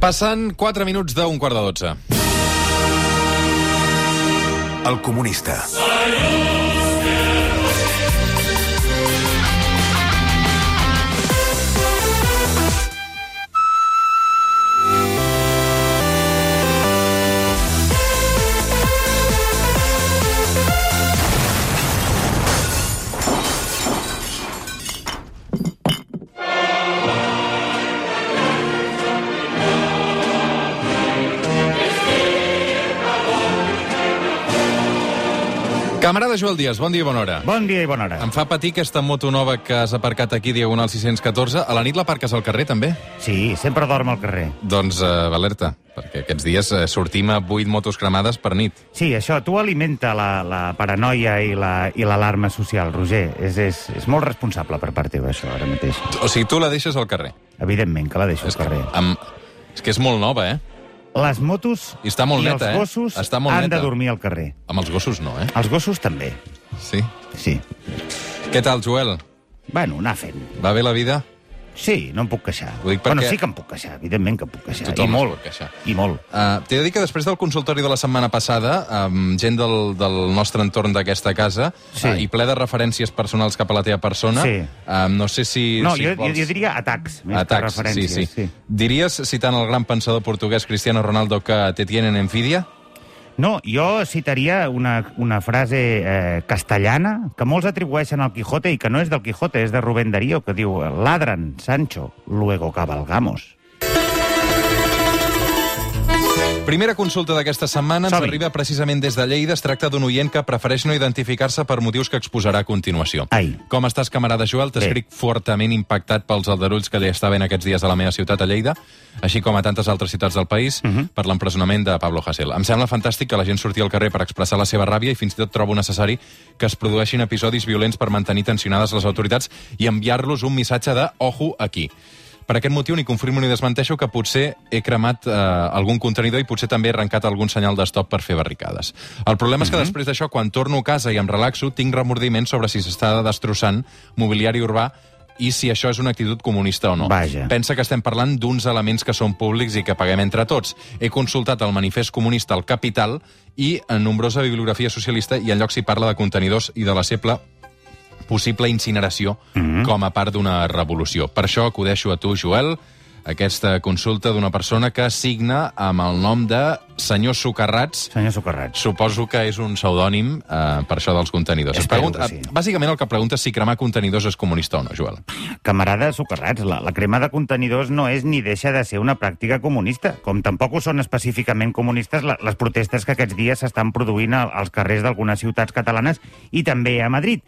Passen 4 minuts d'un quart de 12. El comunista. Camarada Joel Díaz, bon dia i bona hora. Bon dia i bona hora. Em fa patir aquesta moto nova que has aparcat aquí, Diagonal 614. A la nit la parques al carrer, també? Sí, sempre dorm al carrer. Doncs eh, alerta, perquè aquests dies eh, sortim a 8 motos cremades per nit. Sí, això, tu alimenta la, la paranoia i la- i l'alarma la, social, Roger. És, és, és molt responsable per part teva, això, ara mateix. O sigui, tu la deixes al carrer. Evidentment que la deixo al carrer. Amb... És que és molt nova, eh? Les motos I està molt i neta, eh? els gossos Està molt han neta. de dormir al carrer. Amb els gossos no, eh? Els gossos també, Sí. sí. Què tal, Joel? Bueno, anar fent. Va bé la vida? Sí, no em puc queixar. Ho dic perquè- Bueno, sí que em puc queixar, evidentment que em puc queixar. Tothom I es molt. pot queixar. I molt. Uh, T'he de dir que després del consultori de la setmana passada, amb gent del, del nostre entorn d'aquesta casa, Sí. eh, i ple de referències personals cap a la teva persona, Sí. eh, no sé si... No, si jo, jo, jo diria atacs, més que Atacs, sí, referències. sí, sí. Diries, citant el gran pensador portuguès Cristiano Ronaldo, que te tienen envidia? No, jo citaria una, una frase eh, castellana que molts atribueixen al Quijote i que no és del Quijote, és de Rubén Darío, que diu «Ladran, Sancho, luego cabalgamos». Primera consulta d'aquesta setmana ens Som-hi. arriba precisament des de Lleida. Es tracta d'un oient que prefereix no identificar-se per motius que exposarà a continuació. Ai. Com estàs, camarada Joel? T'escric fortament impactat pels aldarulls que li estaven aquests dies a la meva ciutat, a Lleida, així com a tantes altres ciutats del país, Mhm. per l'empresonament de Pablo Hasél. Em sembla fantàstic que la gent surti al carrer per expressar la seva ràbia i fins i tot trobo necessari que es produeixin episodis violents per mantenir tensionades les autoritats i enviar-los un missatge de «Ojo aquí». Per aquest motiu ni confirmo ni desmenteixo que potser he cremat eh, algun contenidor i potser també he arrencat algun senyal d'estop per fer barricades. El problema és que després d'això, quan torno a casa i em relaxo, tinc remordiments sobre si s'està destrossant mobiliari urbà i si això és una actitud comunista o no. Vaja. Pensa que estem parlant d'uns elements que són públics i que paguem entre tots. He consultat el manifest comunista al Capital i en nombrosa bibliografia socialista i enlloc s'hi parla de contenidors i de la ceple possible incineració Mhm. com a part d'una revolució. Per això acudeixo a tu, Joel, aquesta consulta d'una persona que signa amb el nom de Senyor Socarrats. Senyor Socarrats. Suposo que és un pseudònim eh, per això dels contenidors. Es Espero pregunta, que sí. Bàsicament el que pregunta és si cremar contenidors és comunista o no, Joel. Camarada Socarrats, la, la crema de contenidors no és ni deixa de ser una pràctica comunista, com tampoc ho són específicament comunistes la, les protestes que aquests dies s'estan produint al, als carrers d'algunes ciutats catalanes i també a Madrid.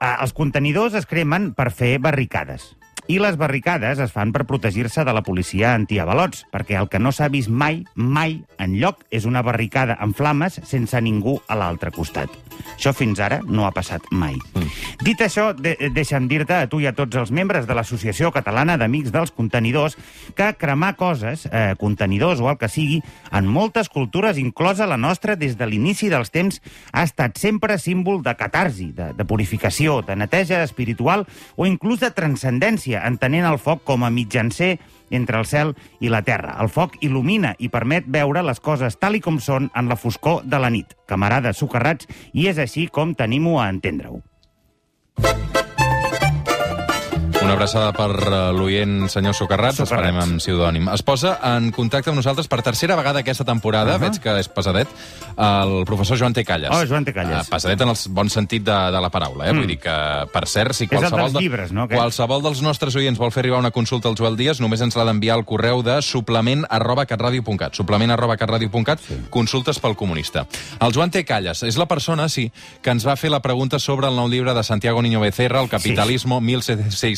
Ah, els contenidors es cremen per fer barricades. I les barricades es fan per protegir-se de la policia antiavalots, perquè el que no s'ha vist mai, mai, en lloc és una barricada en flames sense ningú a l'altre costat. Això fins ara no ha passat mai. Mm. Dit això, de deixa'm dir-te a tu i a tots els membres de l'Associació Catalana d'Amics dels Contenidors que cremar coses, eh, contenidors o el que sigui, en moltes cultures, inclosa la nostra, des de l'inici dels temps, ha estat sempre símbol de catarsi, de, de purificació, de neteja espiritual o inclús de transcendència, entenent el foc com a mitjancer entre el cel i la terra. El foc il·lumina i permet veure les coses tal i com són en la foscor de la nit. Camarada socarrats, i és així com t'animo a entendre-ho. Una abraçada per eh, l'oient senyor Socarrats, Socarrats. esperem amb pseudònim. Es posa en contacte amb nosaltres per tercera vegada aquesta temporada, uh -huh. veig que és pesadet, el professor Joan T. Calles. Uh-huh. Oh, Joan T. Calles. Eh, pesadet en el bon sentit de, de la paraula, eh? Mm. Vull dir que, per cert, si el qualsevol, dels llibres, no, aquest? qualsevol dels nostres oients vol fer arribar una consulta al Joel Díaz, només ens l'ha d'enviar al correu de suplement arroba catradio.cat. Suplement arroba catradio.cat, sí. consultes pel comunista. El Joan T. Calles és la persona, sí, que ens va fer la pregunta sobre el nou llibre de Santiago Niño Becerra, El capitalismo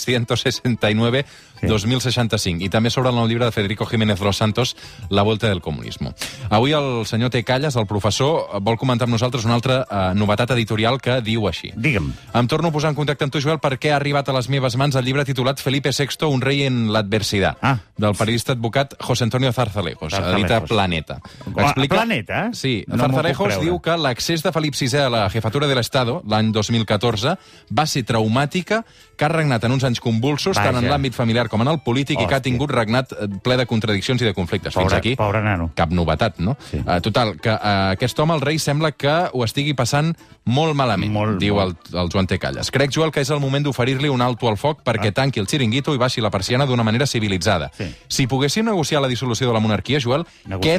1669-2065, i també sobre el nou llibre de Federico Jiménez Los Santos, La vuelta del comunismo. Avui el senyor T. Calles, el professor, vol comentar amb nosaltres una altra eh, novetat editorial que diu així. Digue'm. Em torno a posar en contacte amb tu, Joel, perquè ha arribat a les meves mans el llibre titulat Felipe VI, un rei en l'adversitat, Ah. del periodista advocat José Antonio Zarzalejos, Zarzalejos. edita Planeta. Ah, Planeta? Sí, No m'ho puc Zarzalejos creure. diu que l'accés de Felip VI a la jefatura de l'Estado, l'any 2014, va ser traumàtica, que ha regnat en uns anys convulsos, Vaja. tant en l'àmbit familiar com en el polític i que ha Hòstia. tingut regnat eh, ple de contradiccions i de conflictes. Fins Pobre, aquí, pobre nano. cap novetat, no? Sí. Sí. Uh, total, que uh, aquest home, el rei, sembla que ho estigui passant molt malament, Molt, diu el, molt. el Joan T. Calles. Crec, Joel, que és el moment d'oferir-li un alto al foc perquè tanqui el xiringuito i baixi la persiana d'una manera civilitzada. Ah. Sí. Si poguéssim negociar la dissolució de la monarquia, Joel, Negociar.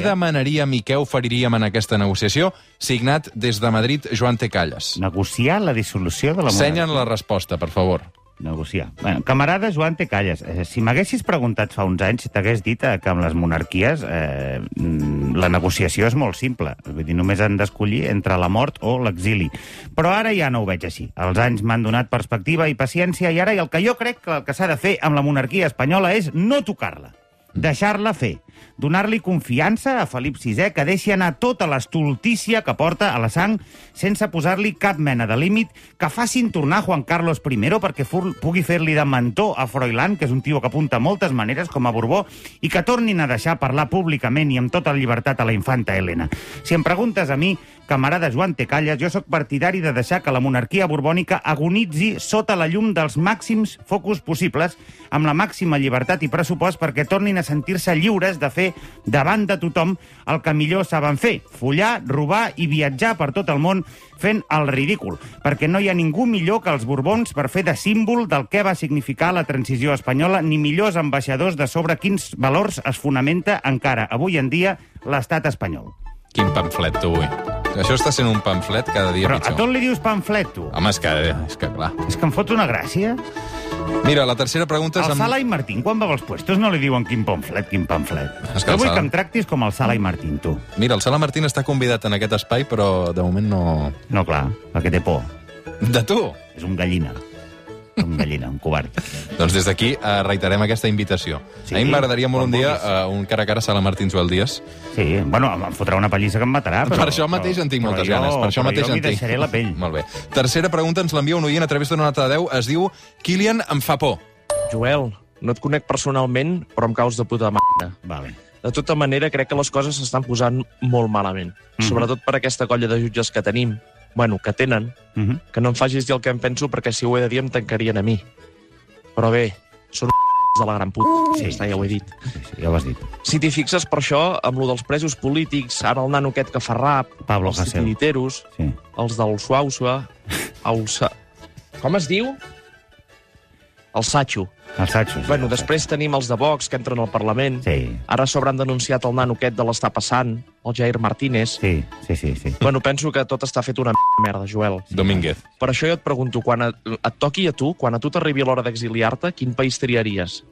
què demanaríem i què oferiríem en aquesta negociació? Signat des de Madrid, Joan T. Calles. Negociar la dissolució de la monarquia. Senyen la resposta, per favor. negociar. Bueno, camarada Joan, te calles. Eh, si m'haguessis preguntat fa uns anys, t'hagués dit eh, que amb les monarquies eh, mm, la negociació és molt simple. Vull dir, només han d'escollir entre la mort o l'exili. Però ara ja no ho veig així. Els anys m'han donat perspectiva i paciència i ara i el que jo crec que el que s'ha de fer amb la monarquia espanyola és no tocar-la. Deixar-la fer. Donar-li confiança a Felip VI que deixi anar tota l'estoltícia que porta a la sang sense posar-li cap mena de límit, que facin tornar Juan Carlos I perquè fur- pugui fer-li de mentor a Froilán, que és un tio que apunta moltes maneres com a Borbó, i que tornin a deixar parlar públicament i amb tota llibertat a la infanta Helena. Si em preguntes a mi, camarada Joan Tecalles, jo sóc partidari de deixar que la monarquia borbònica agonitzi sota la llum dels màxims focus possibles, amb la màxima llibertat i pressupost perquè tornin a sentir-se lliures de fer davant de tothom el que millor saben fer, follar, robar i viatjar per tot el món fent el ridícul, perquè no hi ha ningú millor que els Borbons per fer de símbol del que va significar la transició espanyola, ni millors ambaixadors de sobre quins valors es fonamenta encara avui en dia l'estat espanyol. Quin pamflet, tu, avui. Això està sent un pamflet cada dia Però a pitjor. tot li dius pamflet, tu. Home, és que, és que clar. És que em fots una gràcia. Mira, la tercera pregunta és... Al Sala i Martín, quan va als puestos, no li diuen quin pamflet, quin pamflet. És que Jo el vull Sala- que em tractis com el Sala i Martín, tu. Mira, el Sala Martín està convidat en aquest espai, però de moment no... No, clar, perquè té por. De tu! És un gallina. Un gallina, un covard. Doncs des d'aquí eh, reiterem aquesta invitació. Sí, Sí, a mi m'agradaria molt quan un dia vulguis. eh, un cara a cara Sala Martín Joel Díaz. Sí, bueno, em fotrà una pallissa que em matarà, però... per això mateix però- en tinc però moltes jo- ganes. Per això però mateix jo en m'hi tinc. deixaré la pell. Molt bé. Tercera pregunta ens l'envia un oient a través d'una nota de 10. Es diu Kilian em fa por. Joel, no et conec personalment, però em caus de puta merda. Vale. De tota manera, crec que les coses s'estan posant molt malament. Mhm. Sobretot per aquesta colla de jutges que tenim, bueno, que tenen, Uh -huh. que no em facis dir el que em penso perquè si ho he de dir em tancarien a mi. Però bé, són de la gran puta. Sí. Sí. Està, ja ho he dit. sí, sí, ja ho has dit. Si t'hi fixes per això, amb lo dels presos polítics, ara el nano aquest que fa rap, Pablo els Hasél. titiriteros, Sí. els del Suausua, el Sa... Com es diu? El Satxo. El Satxo. Sí, Bueno, el després tenim els de Vox, que entren al Parlament. Satxo. Sí, Ara a sobre han denunciat el nano aquest de l'està passant, el Jair Martínez. sí, sí, sí. sí. Bueno, penso que tot està fet una merda, Joel. Domínguez. Per això jo et pregunto, quan et, et toqui a tu, quan a tu t'arribi l'hora d'exiliar-te, quin país triaries?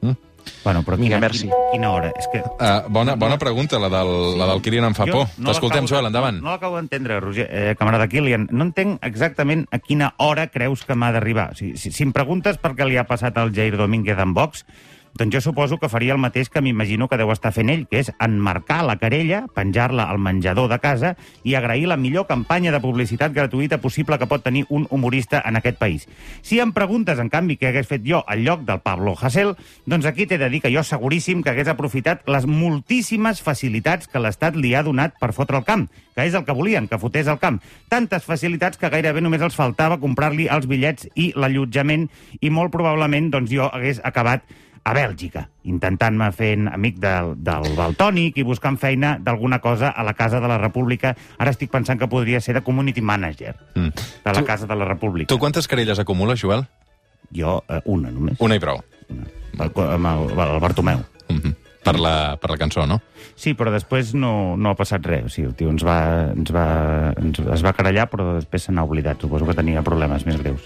Bueno, però Vinga, quina, merci. quina hora? És que... Uh, bona, bona pregunta, la del, la del Kilian em fa Jo por. no T'escoltem, l'acabo de- Joel, endavant. No l'acabo d'entendre, Roger, eh, camarada Kilian. No entenc exactament a quina hora creus que m'ha d'arribar. O sigui, si, si em preguntes per què li ha passat al Jair Domínguez en Vox, doncs jo suposo que faria el mateix que m'imagino que deu estar fent ell, que és enmarcar la querella, penjar-la al menjador de casa i agrair la millor campanya de publicitat gratuïta possible que pot tenir un humorista en aquest país. Si em preguntes, en canvi, què hagués fet jo al lloc del Pablo Hasél, doncs aquí t'he de dir que jo seguríssim que hagués aprofitat les moltíssimes facilitats que l'Estat li ha donat per fotre el camp, que és el que volien, que fotés el camp. Tantes facilitats que gairebé només els faltava comprar-li els bitllets i l'allotjament i molt probablement doncs, jo hagués acabat a Bèlgica, intentant-me fent amic del, del Baltònic i buscant feina d'alguna cosa a la Casa de la República. Ara estic pensant que podria ser de community manager Mm. de la Tu- Casa de la República. Tu quantes querelles acumules, Joel? Jo, eh, una només. Una i prou. El, amb el, el Bartomeu. Mm -hmm. per, la, per la cançó, no? Sí, però després no, no ha passat res. O sigui, el tio ens va, ens va, ens, es va carallar, però després se n'ha oblidat. Suposo que tenia problemes més greus.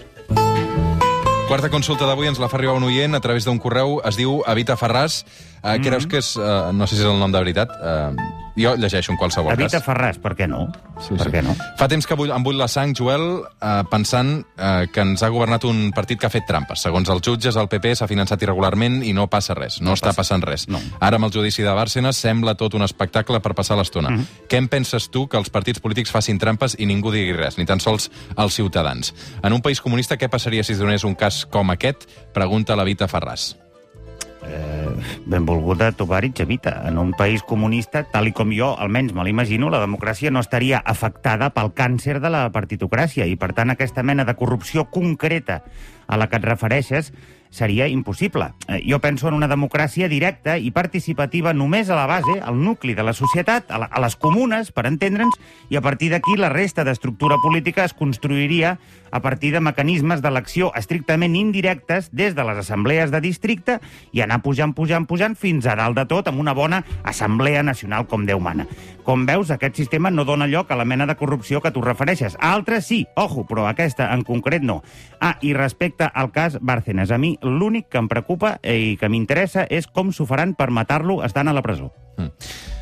Quarta consulta d'avui ens la fa arribar un oient a través d'un correu, es diu Evita Ferraz. Uh, mm -hmm. Creus que és... Uh, no sé si és el nom de veritat. Uh, jo llegeixo en qualsevol Evita cas. Ferràs, per què no? Sí, per sí. què no? Fa temps que vull, em bull la sang, Joel, eh, pensant eh, que ens ha governat un partit que ha fet trampes. Segons els jutges, el PP s'ha finançat irregularment i no passa res, no, no està passa. passa. passant res. No. Ara, amb el judici de Bárcenas, sembla tot un espectacle per passar l'estona. Mhm. Mm -hmm. Què en penses tu que els partits polítics facin trampes i ningú digui res, ni tan sols els ciutadans? En un país comunista, què passaria si es donés un cas com aquest? Pregunta la Vita Ferraz. Eh, Benvolguda Tovarich Evita. En un país comunista, tal i com jo almenys me l'imagino, la democràcia no estaria afectada pel càncer de la partitocràcia i, per tant, aquesta mena de corrupció concreta a la que et refereixes seria impossible. Eh, Jo penso en una democràcia directa i participativa només a la base, al nucli de la societat, a, la, a les comunes, per entendre'ns, i a partir d'aquí la resta d'estructura política es construiria a partir de mecanismes d'elecció estrictament indirectes des de les assemblees de districte i anar pujant, pujant, pujant fins a dalt de tot amb una bona assemblea nacional com Déu mana. Com veus, aquest sistema no dona lloc a la mena de corrupció que tu refereixes. A altres sí, ojo, però aquesta en concret no. Ah, i respecte al cas Bárcenas, a mi l'únic que em preocupa i que m'interessa és com s'ho faran per matar-lo estant a la presó.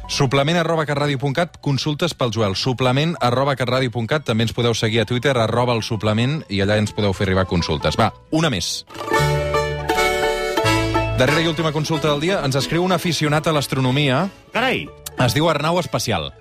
Suplement arroba carradio.cat, consultes pel Joel. Suplement arroba carradio.cat, també ens podeu seguir a Twitter, arroba el suplement, i allà ens podeu fer arribar consultes. Va, una més. Darrera i última consulta del dia, ens escriu un aficionat a l'astronomia, Carai! es diu Arnau Espacial.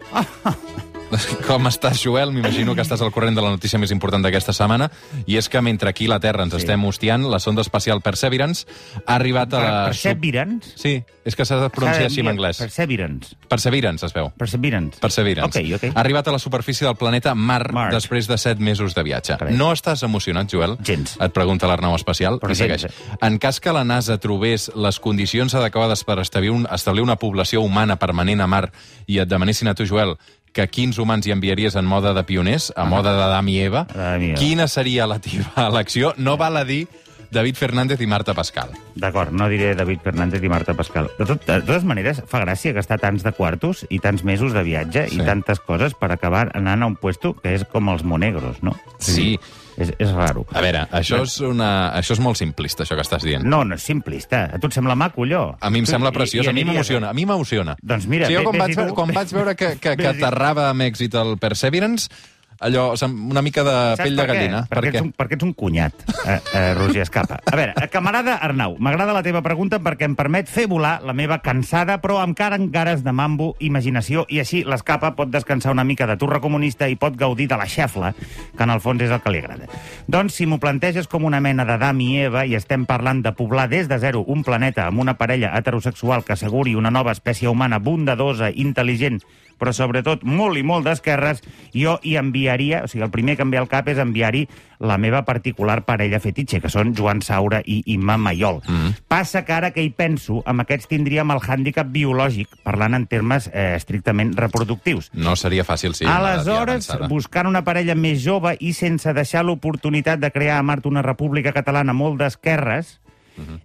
Com estàs, Joel? M'imagino que estàs al corrent de la notícia més important d'aquesta setmana, i és que mentre aquí a la Terra ens sí. estem hostiant, la sonda espacial Perseverance ha arribat a Per, la... perseverance? Sí, és que s'ha de pronunciar així en Perseverance. anglès. Perseverance. Perseverance, es veu. Perseverance. Perseverance. Ok, ok. Ha arribat a la superfície del planeta Mar, Mart. després de 7 mesos de viatge. Carai. No estàs emocionat, Joel? Gens. Et pregunta l'Arnau Espacial. Però i gens, En cas que la NASA trobés les condicions adequades per establir, un, establir una població humana permanent a Mar i et demanessin a tu, Joel, que quins humans hi enviaries en moda de pioners, a moda d'Adam i Eva, Ah. Adam i Eva. quina seria la teva elecció? No val a dir David Fernández i Marta Pascal. D'acord, no diré David Fernández i Marta Pascal. De, tot, de totes maneres, fa gràcia gastar tants de quartos i tants mesos de viatge sí. Sí. i tantes coses per acabar anant a un puesto que és com els monegros, no? Sí. És, és raro. A veure, això és, una, això és molt simplista, això que estàs dient. No, no és simplista. A tu et sembla maco, allò? A mi em Tu- sembla i- preciós, a i mi aniries- m'emociona, a mi m'emociona. Doncs mira, si jo ve- quan ves-hi vaig, tu. veure- quan vaig veure que, que, que Ves-hi. aterrava amb èxit el Perseverance, allò, sem- una mica de Saps pell de per què? gallina. Perquè, ets un, perquè ets un cunyat, eh, eh, Roger Escapa. A veure, eh, camarada Arnau, m'agrada la teva pregunta perquè em permet fer volar la meva cansada, però amb cara en gares de mambo, imaginació, i així l'Escapa pot descansar una mica de turra comunista i pot gaudir de la xafla, que en el fons és el que li agrada. Doncs si m'ho planteges com una mena d'Adam i Eva i estem parlant de poblar des de zero un planeta amb una parella heterosexual que asseguri una nova espècie humana bondadosa, intel·ligent, però sobretot molt i molt d'esquerres, jo hi enviaria, o sigui, el primer que em ve al cap és enviar-hi la meva particular parella fetitxe, que són Joan Saura i Imma Maiol. Mm. Passa que ara que hi penso, amb aquests tindríem el hàndicap biològic, parlant en termes eh, estrictament reproducties. No seria fàcil, sí. Aleshores, buscant una parella més jove i sense deixar l'oportunitat de crear a Marta una república catalana molt d'esquerres,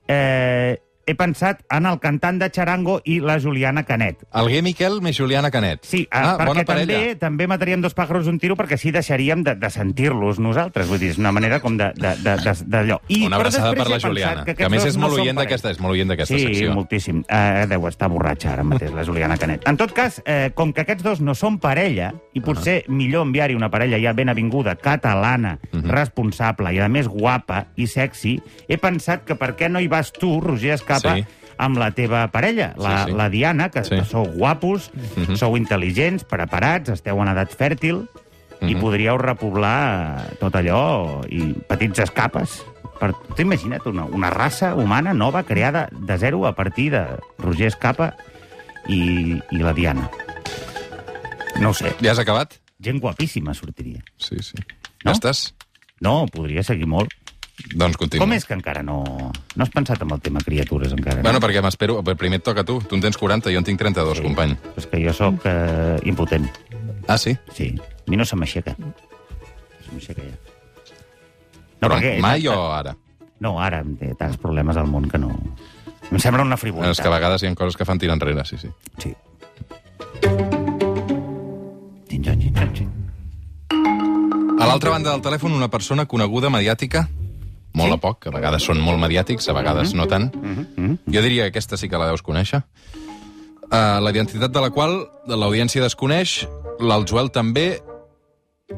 eh, he pensat en el cantant de Charango i la Juliana Canet. Alguer Miquel més Juliana Canet. Sí, ah, ah, perquè bona parella. també també mataríem dos pàjaros d'un tiro perquè així deixaríem de, de sentir-los nosaltres. Vull dir, és una manera com de- de- de- de- d'allò. I- Una però abraçada per la després he pensat Juliana, que, a aquests més dos és molt no són oient parella. d'aquesta és molt oient d'aquesta Sí, secció. moltíssim. Uh, deu estar borratxa ara mateix, la Juliana Canet. En tot cas, eh, com que aquests dos no són parella, i potser uh -huh. millor enviar-hi una parella ja ben avinguda, catalana, uh Mhm. -huh. responsable i, a més, guapa i sexy, he pensat que per què no hi vas tu, Roger Escapa, Sí. sí amb la teva parella, la, Sí, sí, sí. sí. la Diana, que Sí. Mhm. sí. sou guapos, uh -huh. sou intel·ligents, preparats, esteu en edat fèrtil, i Mhm. podríeu repoblar tot allò i petits escapes. Per... Tu imagina't una, una raça humana nova creada de zero a partir de Roger Escapa i, i la Diana. No ho sé, Ja has acabat? gent guapíssima sortiria. Sí, sí. No? Ja estàs? No, podria seguir molt. Doncs continua. Com és que encara no... No has pensat en el tema criatures, encara? Bueno, perquè m'espero... Primer et toca a tu. Tu en tens 40, jo en tinc 32, sí. company. no? És que jo sóc eh, impotent. Ah, sí? Sí, a mi no se m'aixeca. No se m'aixeca ja. No, Però perquè- mai o ara? No, ara em té tants problemes al món que no... Em sembla una frivolitat. És que a vegades hi ha coses que fan tirar enrere, sí, sí. Sí. Tin-tan, tin-tan, tin. A l'altra banda del telèfon, una persona coneguda, mediàtica, molt sí? a poc, a vegades són molt mediàtics, a vegades Mm-hmm. no tant. Jo diria que aquesta sí que la deus conèixer. Uh, la identitat de la qual l'audiència desconeix, l'El Joel també,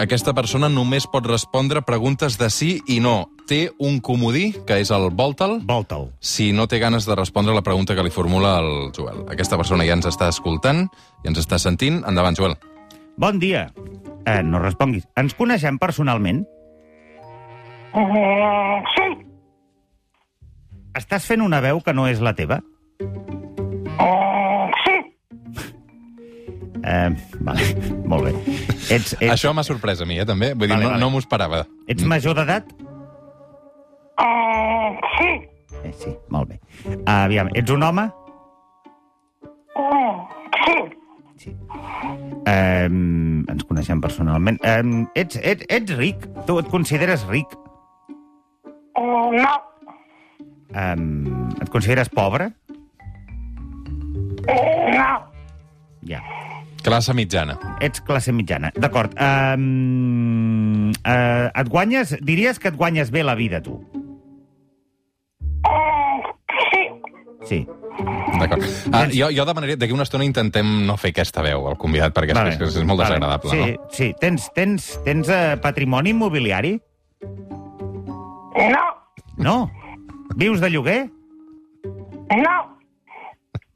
aquesta persona només pot respondre preguntes de sí i no. Té un comodí, que és el Voltal, Volta'l. si no té ganes de respondre la pregunta que li formula el Joel. Aquesta persona ja ens està escoltant, ja ens està sentint. Endavant, Joel. Bon dia. Eh, no responguis. Ens coneixem personalment? Mm, sí. Estàs fent una veu que no és la teva? Mm, sí. Eh, vale, molt bé. Ets, ets, Això m'ha sorprès a mi, eh, també. Vull dir, Vale, no, vale. no m'ho esperava. ets major d'edat? Mm, sí. Eh, Aviam, ets un home? Mm, sí, Sí. Eh, ens coneixem personalment. Eh, ets, ets, ets ric? Tu et consideres ric? mm, no, Eh, et consideres pobre? mm, no, Ja. Classe mitjana. Ets classe mitjana. D'acord. Eh, eh, et guanyes... Diries que et guanyes bé la vida, tu. mm, sí, Sí. D'acord. Ah, jo, jo demanaria... D'aquí una estona intentem no fer aquesta veu al convidat, perquè és, és, és molt desagradable, sí, no? Sí, tens, tens, tens eh, patrimoni immobiliari? no, No. Vius de lloguer? no,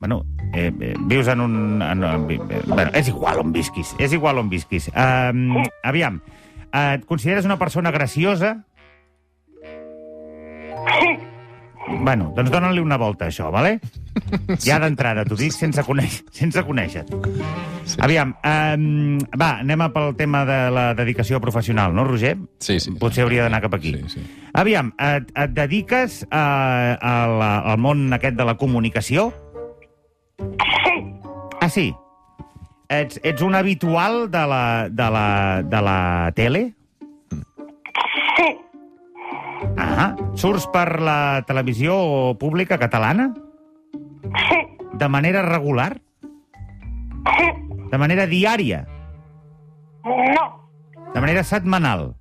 Bueno, eh, eh, vius en un... En, en, eh, bueno, és igual on visquis, és igual on visquis. Um, aviam, eh, et consideres una persona graciosa? sí, Bueno, doncs dóna-li una volta, a això, vale? Ja d'entrada, t'ho dic sense, conèixer, sense conèixer. Sí. Aviam, um, va, anem a pel tema de la dedicació professional, no, Roger? Sí, sí. Potser hauria d'anar cap aquí. Sí, sí. Aviam, et, et dediques a, a la, al món aquest de la comunicació? sí, Ah, sí? Ets, ets un habitual de la, de la, de la tele? sí, Ah, surts per la televisió pública catalana? sí, De manera regular? sí, De manera diària? no, De manera setmanal?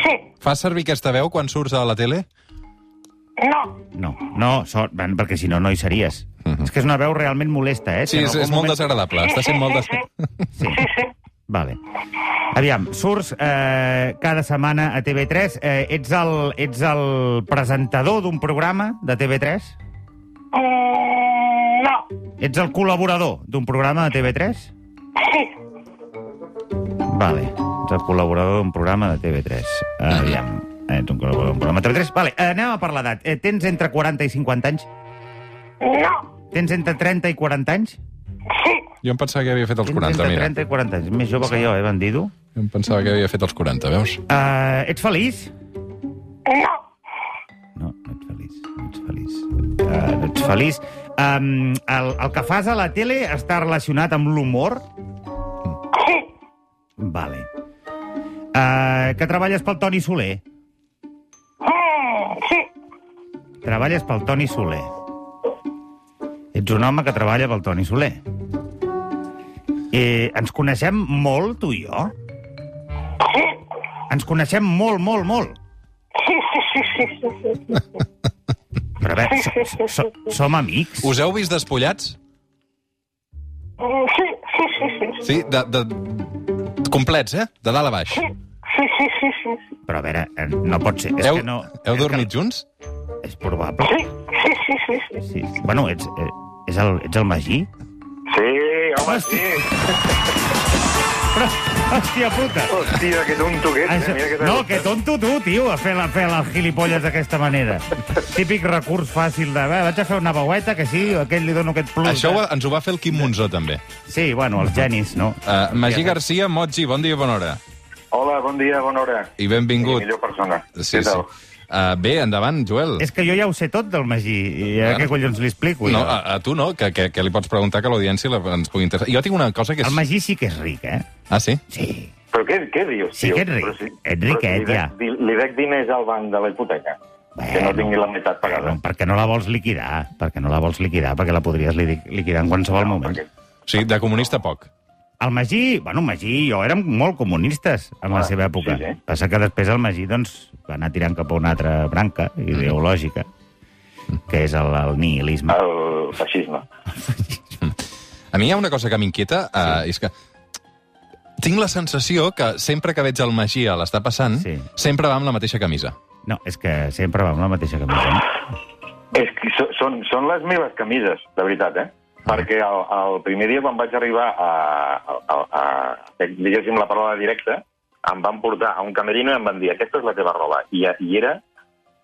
sí, Fas servir aquesta veu quan surts a la tele? no, No, no, sort, bueno, perquè si no, no hi series. És que és una veu realment molesta, eh? Mhm. Sí, en és, algun és molt desagradable. Està sent molt... Des... Sí, sí, sí, vale. Aviam, surts eh, cada setmana a TV3. Eh, ets, el, ets el presentador d'un programa de TV3? mm, no, Ets el col·laborador d'un programa de TV3? sí, Vale. Ets el col·laborador d'un programa de TV3. Aviam. eh, Ets un col·laborador d'un programa de TV3. Vale, eh, anem a per l'edat. Eh, tens entre 40 i 50 anys? no, Tens entre 30 i 40 anys? sí, Jo em pensava que havia fet els Tens 40, entre mira. 30 i 40 anys. Més jove que jo, eh, bandido? Jo em pensava que havia fet els 40, veus? Eh, ets feliç? no, No, no ets feliç. No ets feliç. Eh, no ets feliç. Um, el, el que fas a la tele està relacionat amb l'humor? sí, Vale. Uh, que treballes pel Toni Soler? mm, sí, Treballes pel Toni Soler. Ets un home que treballa pel Toni Soler. Eh, ens coneixem molt, tu i jo? sí, Ens coneixem molt, molt, molt. sí, sí, sí, sí, sí, sí, sí, Però a veure, so, so, so, som amics? Us heu vist despullats? Mm, sí, sí, sí, sí, sí, Sí, de, de... complets, eh? De dalt a baix. sí, sí, sí, sí, sí, Però a veure, eh, no pot ser. És Heu, que no, heu és dormit junts? Que, és probable. sí, sí, sí, sí. Sí. Bueno, ets, eh, és el, ets el Magí? Sí, home, sí. Però, hòstia puta! Hòstia, que tonto que ets. Això... eh? Mira que t'ha Ah, No, costat. que tonto tu, tio, a fer la, fer la gilipolles d'aquesta manera. Típic recurs fàcil de... "Va, Vaig a fer una veueta, que sí, aquest li dono aquest plus. Això de- ho- ens ho va fer el Quim Monzó, també. Sí, bueno, els genis, no? Uh, Magí Garcia, Motzi, bon dia i bona hora. Hola, bon dia, bona hora. I benvingut. Millor persona. Sí, sí. Què tal? Uh, bé, endavant, Joel. És que jo ja ho sé tot del Magí, i ara què collons li explico? No, ah, jo? a, a tu no, que, que, que li pots preguntar que l'audiència la- ens pugui interessar. Jo tinc una cosa que El és... Magí sí que és ric, eh? Ah, sí? Sí. Però què, què dius, Sí tio? que ets ric. eh, Però Ets però riquet, li dec- ja. Li, li dec diners al banc de la hipoteca. Bueno. Que no Bueno. tingui la meitat pagada. No, perquè no la vols liquidar, perquè no la vols liquidar, perquè la podries li- liquidar en qualsevol moment. perquè- Sí, de comunista poc. El Magí, bueno, el Magí i jo érem molt comunistes en la Ah, seva època. sí, sí. Passa que després el Magí doncs, va anar tirant cap a una altra branca ideològica, que és el, el nihilisme. El feixisme. A mi hi ha una cosa que m'inquieta, uh, és que tinc la sensació que sempre que veig el Magí a l'està passant, Sí. sempre va amb la mateixa camisa. No, és que sempre va amb la mateixa camisa. no? És que so- són, són les meves camises, de veritat, eh? Ah. Perquè el, el primer dia quan vaig arribar a, a, a, a, a diguéssim, la paraula directa, em van portar a un camerino i em van dir aquesta és la teva roba. I, i era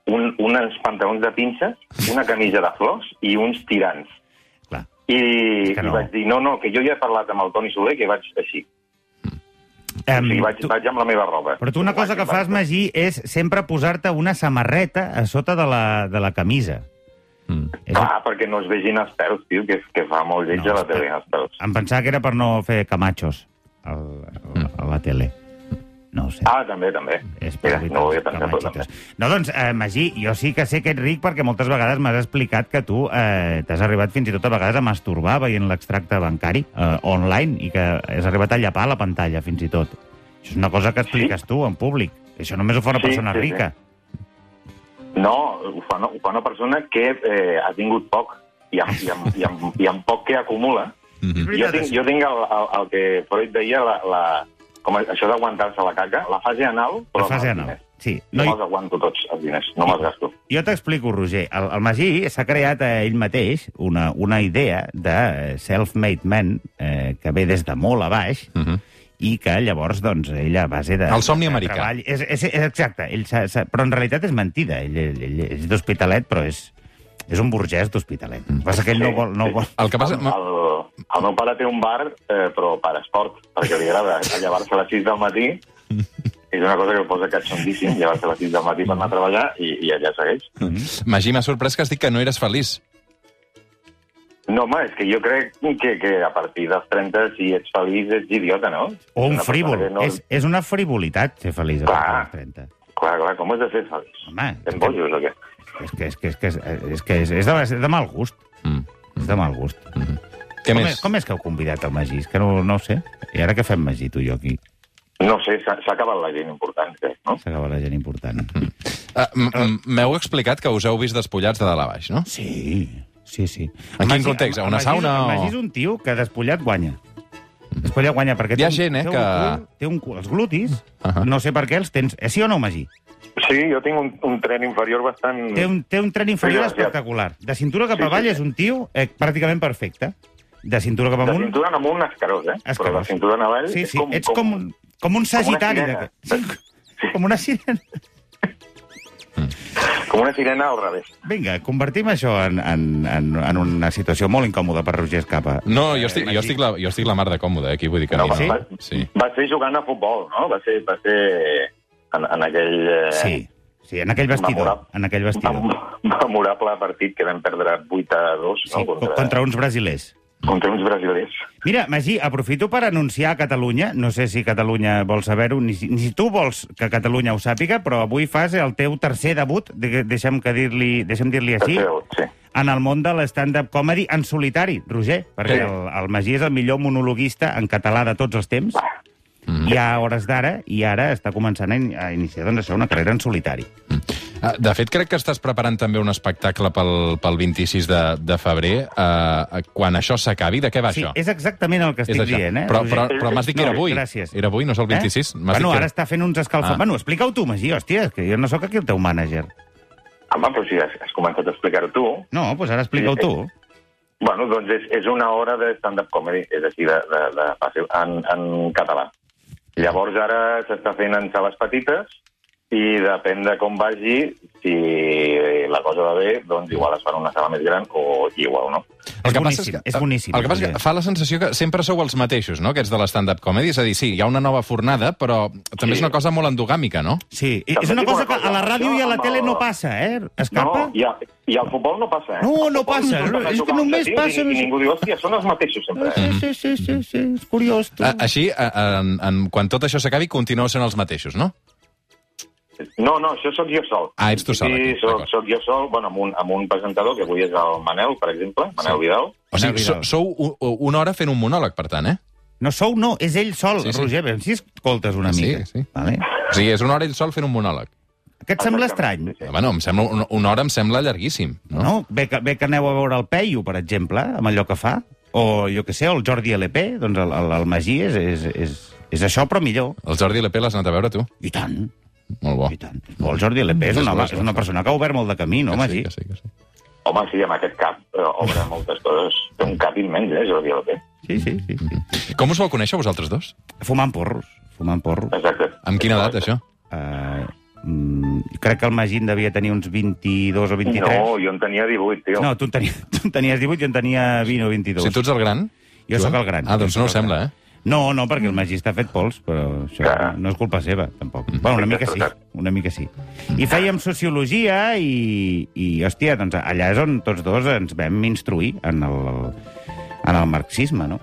un, uns pantalons de pinces, una camisa de flors i uns tirants. Clar. I, És que no. no. i vaig dir, no, no, que jo ja he parlat amb el Toni Soler, que vaig així. Em, Um, o sigui, vaig, Mm, tu, vaig amb la meva roba. però tu una cosa que fas, Magí, és sempre posar-te una samarreta a sota de la, de la camisa. Mm. És... Clar, perquè no es vegin els peus, tio, que, que fa molt lleig No, no, a la tele, els peus. Em pensava que era per no fer camachos al, al, a la tele. No ho sé. Ah, també, també. És per Mira, evitar no ho havia els pensat, però també. camachitos. No, doncs, eh, Magí, jo sí que sé que ets ric perquè moltes vegades m'has explicat que tu eh, t'has arribat fins i tot a vegades a masturbar veient l'extracte bancari eh, online i que has arribat a llapar la pantalla, fins i tot. Això és una cosa que expliques tu en públic. Això només ho fa una Sí, persona sí, sí. rica. No, ho fa, no, ho fa una persona que eh, ha tingut poc i amb, i, amb, i, amb, i amb poc que acumula. Mm -hmm. veritat, Jo tinc, això. jo tinc el, el, el que Freud deia, la, la, com això d'aguantar-se la caca, la fase anal, però La fase amb els anal. diners. Sí. eh, No, No, i- me'ls aguanto tots, els diners. No me'ls gasto. Jo t'explico, Roger. El, el Magí s'ha creat eh, ell mateix una, una idea de eh, self-made man eh, que ve des de molt a baix Mm -hmm. i que llavors, doncs, ell a base de... El somni de americà. Treball, és, és, és exacte. Ell s'ha- s'ha- però en realitat és mentida. Ell, ell, ell és d'Hospitalet, però és, és un burgès d'Hospitalet. Mm. El que passa que ell no vol... No vol El que passa... El, el meu pare té un bar, eh, però per esport, perquè li agrada llevar-se a les 6 del matí. És una cosa que el posa catxondíssim, llevar-se a les 6 del matí per anar a treballar i, i allà segueix. Magí, m'ha sorprès que has dit que no eres feliç. No, home, és que jo crec que, que a partir dels 30, si ets feliç, ets idiota, no? o un Una persona frívol. que No... És, és una frivolitat ser feliç a Clar. partir dels 30. Clar, clar, com has de ser feliç? Home, Tens bojos o què? és que, és que, és que, és, és, que és, és, de, és de mal gust. Mm. És de mal gust. Què com, més? És, com és que heu convidat el Magí? És que no, no ho sé. I ara què fem, Magí, tu i jo aquí? No sé, s'ha s'ha acabat la gent important, crec, no? S'acaba la gent important. Ah, m- m- M'heu explicat que us heu vist despullats de dalt a baix, no? Sí, sí, sí. En El quin context? A el una Magí- sauna El o- Magí és un tio que despullat guanya. Despullat guanya perquè... Hi ha té gent, un- eh, té un que- Ah. Cul, té un cul, els glutis, Ahà. no sé per què els tens... Eh, sí o no, Magí? Sí, jo tinc un, un tren inferior bastant... Té un, té un tren inferior Sí, sí. espectacular. De cintura cap Sí, sí, avall sí. és un tio eh, pràcticament perfecte. De cintura cap De amunt... cintura en amunt, escarós, eh? Però de Escarós. cintura en avall... Sí, és sí, com, ets com, un- com un sagitari. sirena. d'aquest. Sí, com una sirena. Com una sirena al revés. Vinga, convertim això en, en, en, en una situació molt incòmoda per Roger Escapa. No, Eh, jo estic, Magí. jo estic, la, jo estic la mar de còmode, eh, aquí vull dir que No, a mi va, no. Sí. va ser jugant a futbol, no? Va ser, va ser eh, en, en aquell... Eh, Sí, sí, en aquell vestidor. memorable- En aquell vestidor. mem- Memorable partit que vam perdre 8 a 2 Sí, no? contra, contra uns brasilers. contra uns brasilers. Mira, Magí, aprofito per anunciar a Catalunya, no sé si Catalunya vol saber-ho, ni, si, ni si tu vols que Catalunya ho sàpiga, però avui fas el teu tercer debut, de, deixa'm que dir-li deixa'm dir-li així, Tercer, sí. en el món de l'stand-up comedy en solitari, Roger, perquè Sí. el, el Magí és el millor monologuista en català de tots els temps. Mm. I a hores d'ara, i ara està començant a, in a iniciar doncs, això, una carrera en solitari. Ah, De fet, crec que estàs preparant també un espectacle pel, pel 26 de, de febrer. Uh, quan això s'acabi, de què va sí, això? és exactament el que estic això. dient, eh? Però, Roger? però, però m'has dit que era No, avui. gràcies. Eh? Era avui, no és el 26? M'has Bueno, dit que ara era- està fent uns escalfaments. Ah. Bueno, explica-ho tu, Magí, hòstia, és que jo no sóc aquí el teu mànager. Home, Ah, però si has, has començat a explicar-ho tu... No, doncs ara explica-ho Sí, tu. Bueno, doncs és, és una hora de stand-up comedy, és així, de, de, de fàcil, en, en català. Llavors ara s'està fent en sales petites i depèn de com vagi, si la cosa va bé, doncs igual es farà una sala més gran o igual no. El que és passa boníssim, que- és boníssim, El que passa és Roger. que fa la sensació que sempre sou els mateixos, no?, aquests de l'stand-up comedy. És a dir, sí, hi ha una nova fornada, però també és Sí. una cosa molt endogàmica, no? Sí, i- També és una dic cosa una que cosa, a la ràdio jo i a la amb tele el- no passa, eh? Escapa? No, i, a, i al futbol no passa, eh? No, no Al futbol passa, tu estàs a és jugar que un només Ah, partit passa- I, I ningú diu, hòstia, són els mateixos sempre. Sí, sí, sí, sí, sí, és curiós, tu. A- Així, a- en, en, quan tot això s'acabi, continueu sent els mateixos, no? No, no, això sóc jo sol. Ah, ets tu sol, Sí, aquí, sóc, d'acord. sóc jo sol, bueno, amb un, amb un presentador, que avui és el Manel, per exemple, Manel sí. Vidal. O sigui, Vidal. so, sou u- u- una hora fent un monòleg, per tant, eh? No sou, no, és ell sol, Sí, sí. Roger. Veiem si escoltes una Sí, mica. sí. Vale? O sigui, és una hora ell sol fent un monòleg. Què et sembla estrany? Exactament, sí, sí. Bueno, Eh, em sembla, una, una hora em sembla llarguíssim, No? no? Bé, que, bé que aneu a veure el Peyu, per exemple, amb allò que fa, o jo que sé, el Jordi LP, doncs el, el, el Magí és, és, és, és això, però millor. El Jordi Lepé l'has anat a veure, tu? I tant, Molt bo. i tant. O el Jordi LP és És una, bo, home- és bo. és una persona que ha obert molt de camí, no, Que sí, Magí? que sí, que sí. Home, sí, amb aquest cap eh, obre moltes coses. Té un cap immens, eh, Jordi López. Sí, sí, sí. sí. Com us vau conèixer, vosaltres dos? Fumant porros, fumant porros. Exacte. Amb quina edat, això? Uh, mm, crec que el Magí en devia tenir uns 22 o 23. No, jo en tenia 18, tio. no tu, en tenies, tu en tenies 18 i en tenia 20 o 22. Si tu ets el gran... Jo sóc Joan? el gran. Ah, doncs Jo no ho sóc el sembla, gran. eh? No, no, perquè el Magí està fet pols, però això Clar. no és culpa seva, tampoc. Bueno, una mica sí, una mica sí. I fèiem sociologia i, i hòstia, doncs allà és on tots dos ens vam instruir en el, en el marxisme, no?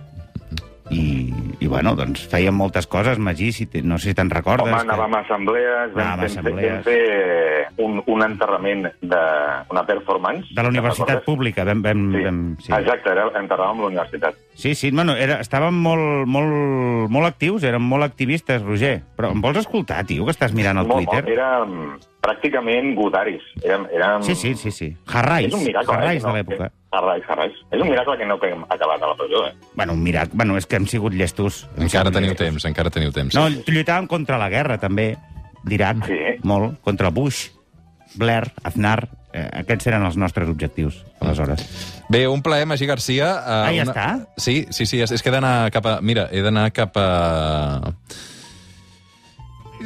I, i bueno, doncs fèiem moltes coses, Magí, si te, no sé si te'n recordes. Home, anàvem a assemblees, vam, Anàvem a vam, fer, assemblees. vam fer un, un enterrament d'una performance. De la universitat Te'n recordes? pública. Vam, vam, Sí. vam, sí. Exacte, era enterràvem la universitat. Sí, sí, bueno, era, estàvem molt, molt, molt actius, érem molt activistes, Roger. Però em vols escoltar, tio, que estàs mirant el Twitter? Molt, érem pràcticament gotaris. Érem, érem... Sí, sí, sí, sí. Harrais, És un miracle, Harrais eh? de l'època. Harrais, Harrais. És un miracle que no que hem acabat a la presó, eh? Bueno, un miracle. Bueno, és que hem sigut llestos. Hem Encara sigut teniu llestos. temps, encara teniu temps. No, lluitàvem contra la guerra, també, d'Iraq, Sí. molt, contra Bush, Blair, Aznar... Eh, aquests eren els nostres objectius, aleshores. Bé, un plaer, Magí Garcia. eh, Ah, ja està? Sí, sí, sí, és, és que he d'anar cap a... Mira, he d'anar cap a...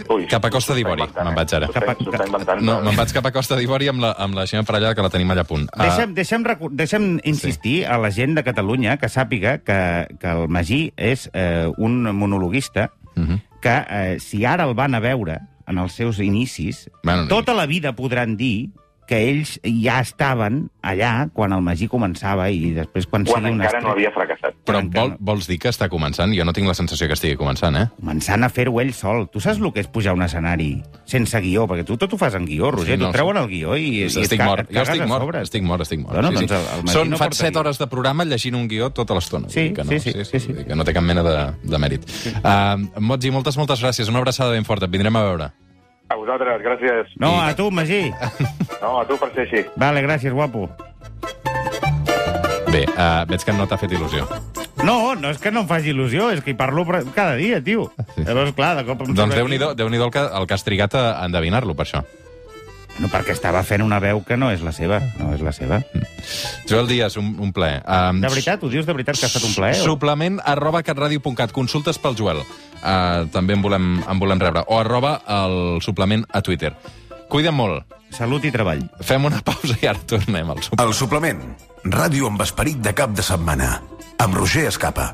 Ui, Cap a Costa s'ho està d'Ivori, inventant, me'n eh? vaig ara. S'ho està- s'ho està inventant. No, me'n vaig cap a Costa d'Ivori amb, la, amb la Xina Parellada, que la tenim allà a punt. Ah, Deixa'm, deixa'm, recu- deixa'm insistir sí. a la gent de Catalunya que sàpiga que, que el Magí és eh, un monologuista Mhm. que, eh, si ara el van a veure en els seus inicis, Bueno, tota la vida podran dir que ells ja estaven allà quan el Magí començava i després quan, Quan sigui una encara no estrella- havia fracassat. Però encara vol, no. vols dir que està començant? Jo no tinc la sensació que estigui començant, eh? començant a fer-ho ell sol. Tu saps el que és pujar a un escenari sense guió? Perquè tu tot ho fas en guió, Roger. Sí, Sí, no, no, T'ho treuen el guió i, i et, Doncs estic ca- mort. et Jo cagues estic a mort, sobre. estic mort, estic mort. Bueno, doncs el- el Magí Són, no fan porta set guió. hores de programa llegint un guió tota l'estona. Sí, Vull dir que no, sí, sí, sí, sí. vull dir Que no té cap mena de, de mèrit. Uh, Motzi, moltes, moltes gràcies. Una abraçada ben forta. Et vindrem a veure. A vosaltres, gràcies. No, a tu, Magí. No, a tu per ser així. Vale, gràcies, guapo. Bé, uh, veig que no t'ha fet il·lusió. Doncs No, no és que no em faci il·lusió, és que hi parlo pre- cada dia, tio. Ah, Sí. Sí. Llavors, clar, de cop em Doncs surt aquí- Déu-n'hi-do Déu el, que, el que has trigat a endevinar-lo, per això. No, perquè estava fent una veu que no és la seva. No és la seva. Mm. Joel Díaz, un, un plaer. Um, De veritat, ho dius de veritat que ha estat un plaer? o- Suplement arroba catradio.cat. Consultes pel Joel. Uh, també en volem, en volem rebre. O arroba el suplement a Twitter. Cuida't molt. Salut i treball. Fem una pausa i ara tornem al suplement. El suplement. Ràdio amb esperit de cap de setmana. Amb Roger Escapa.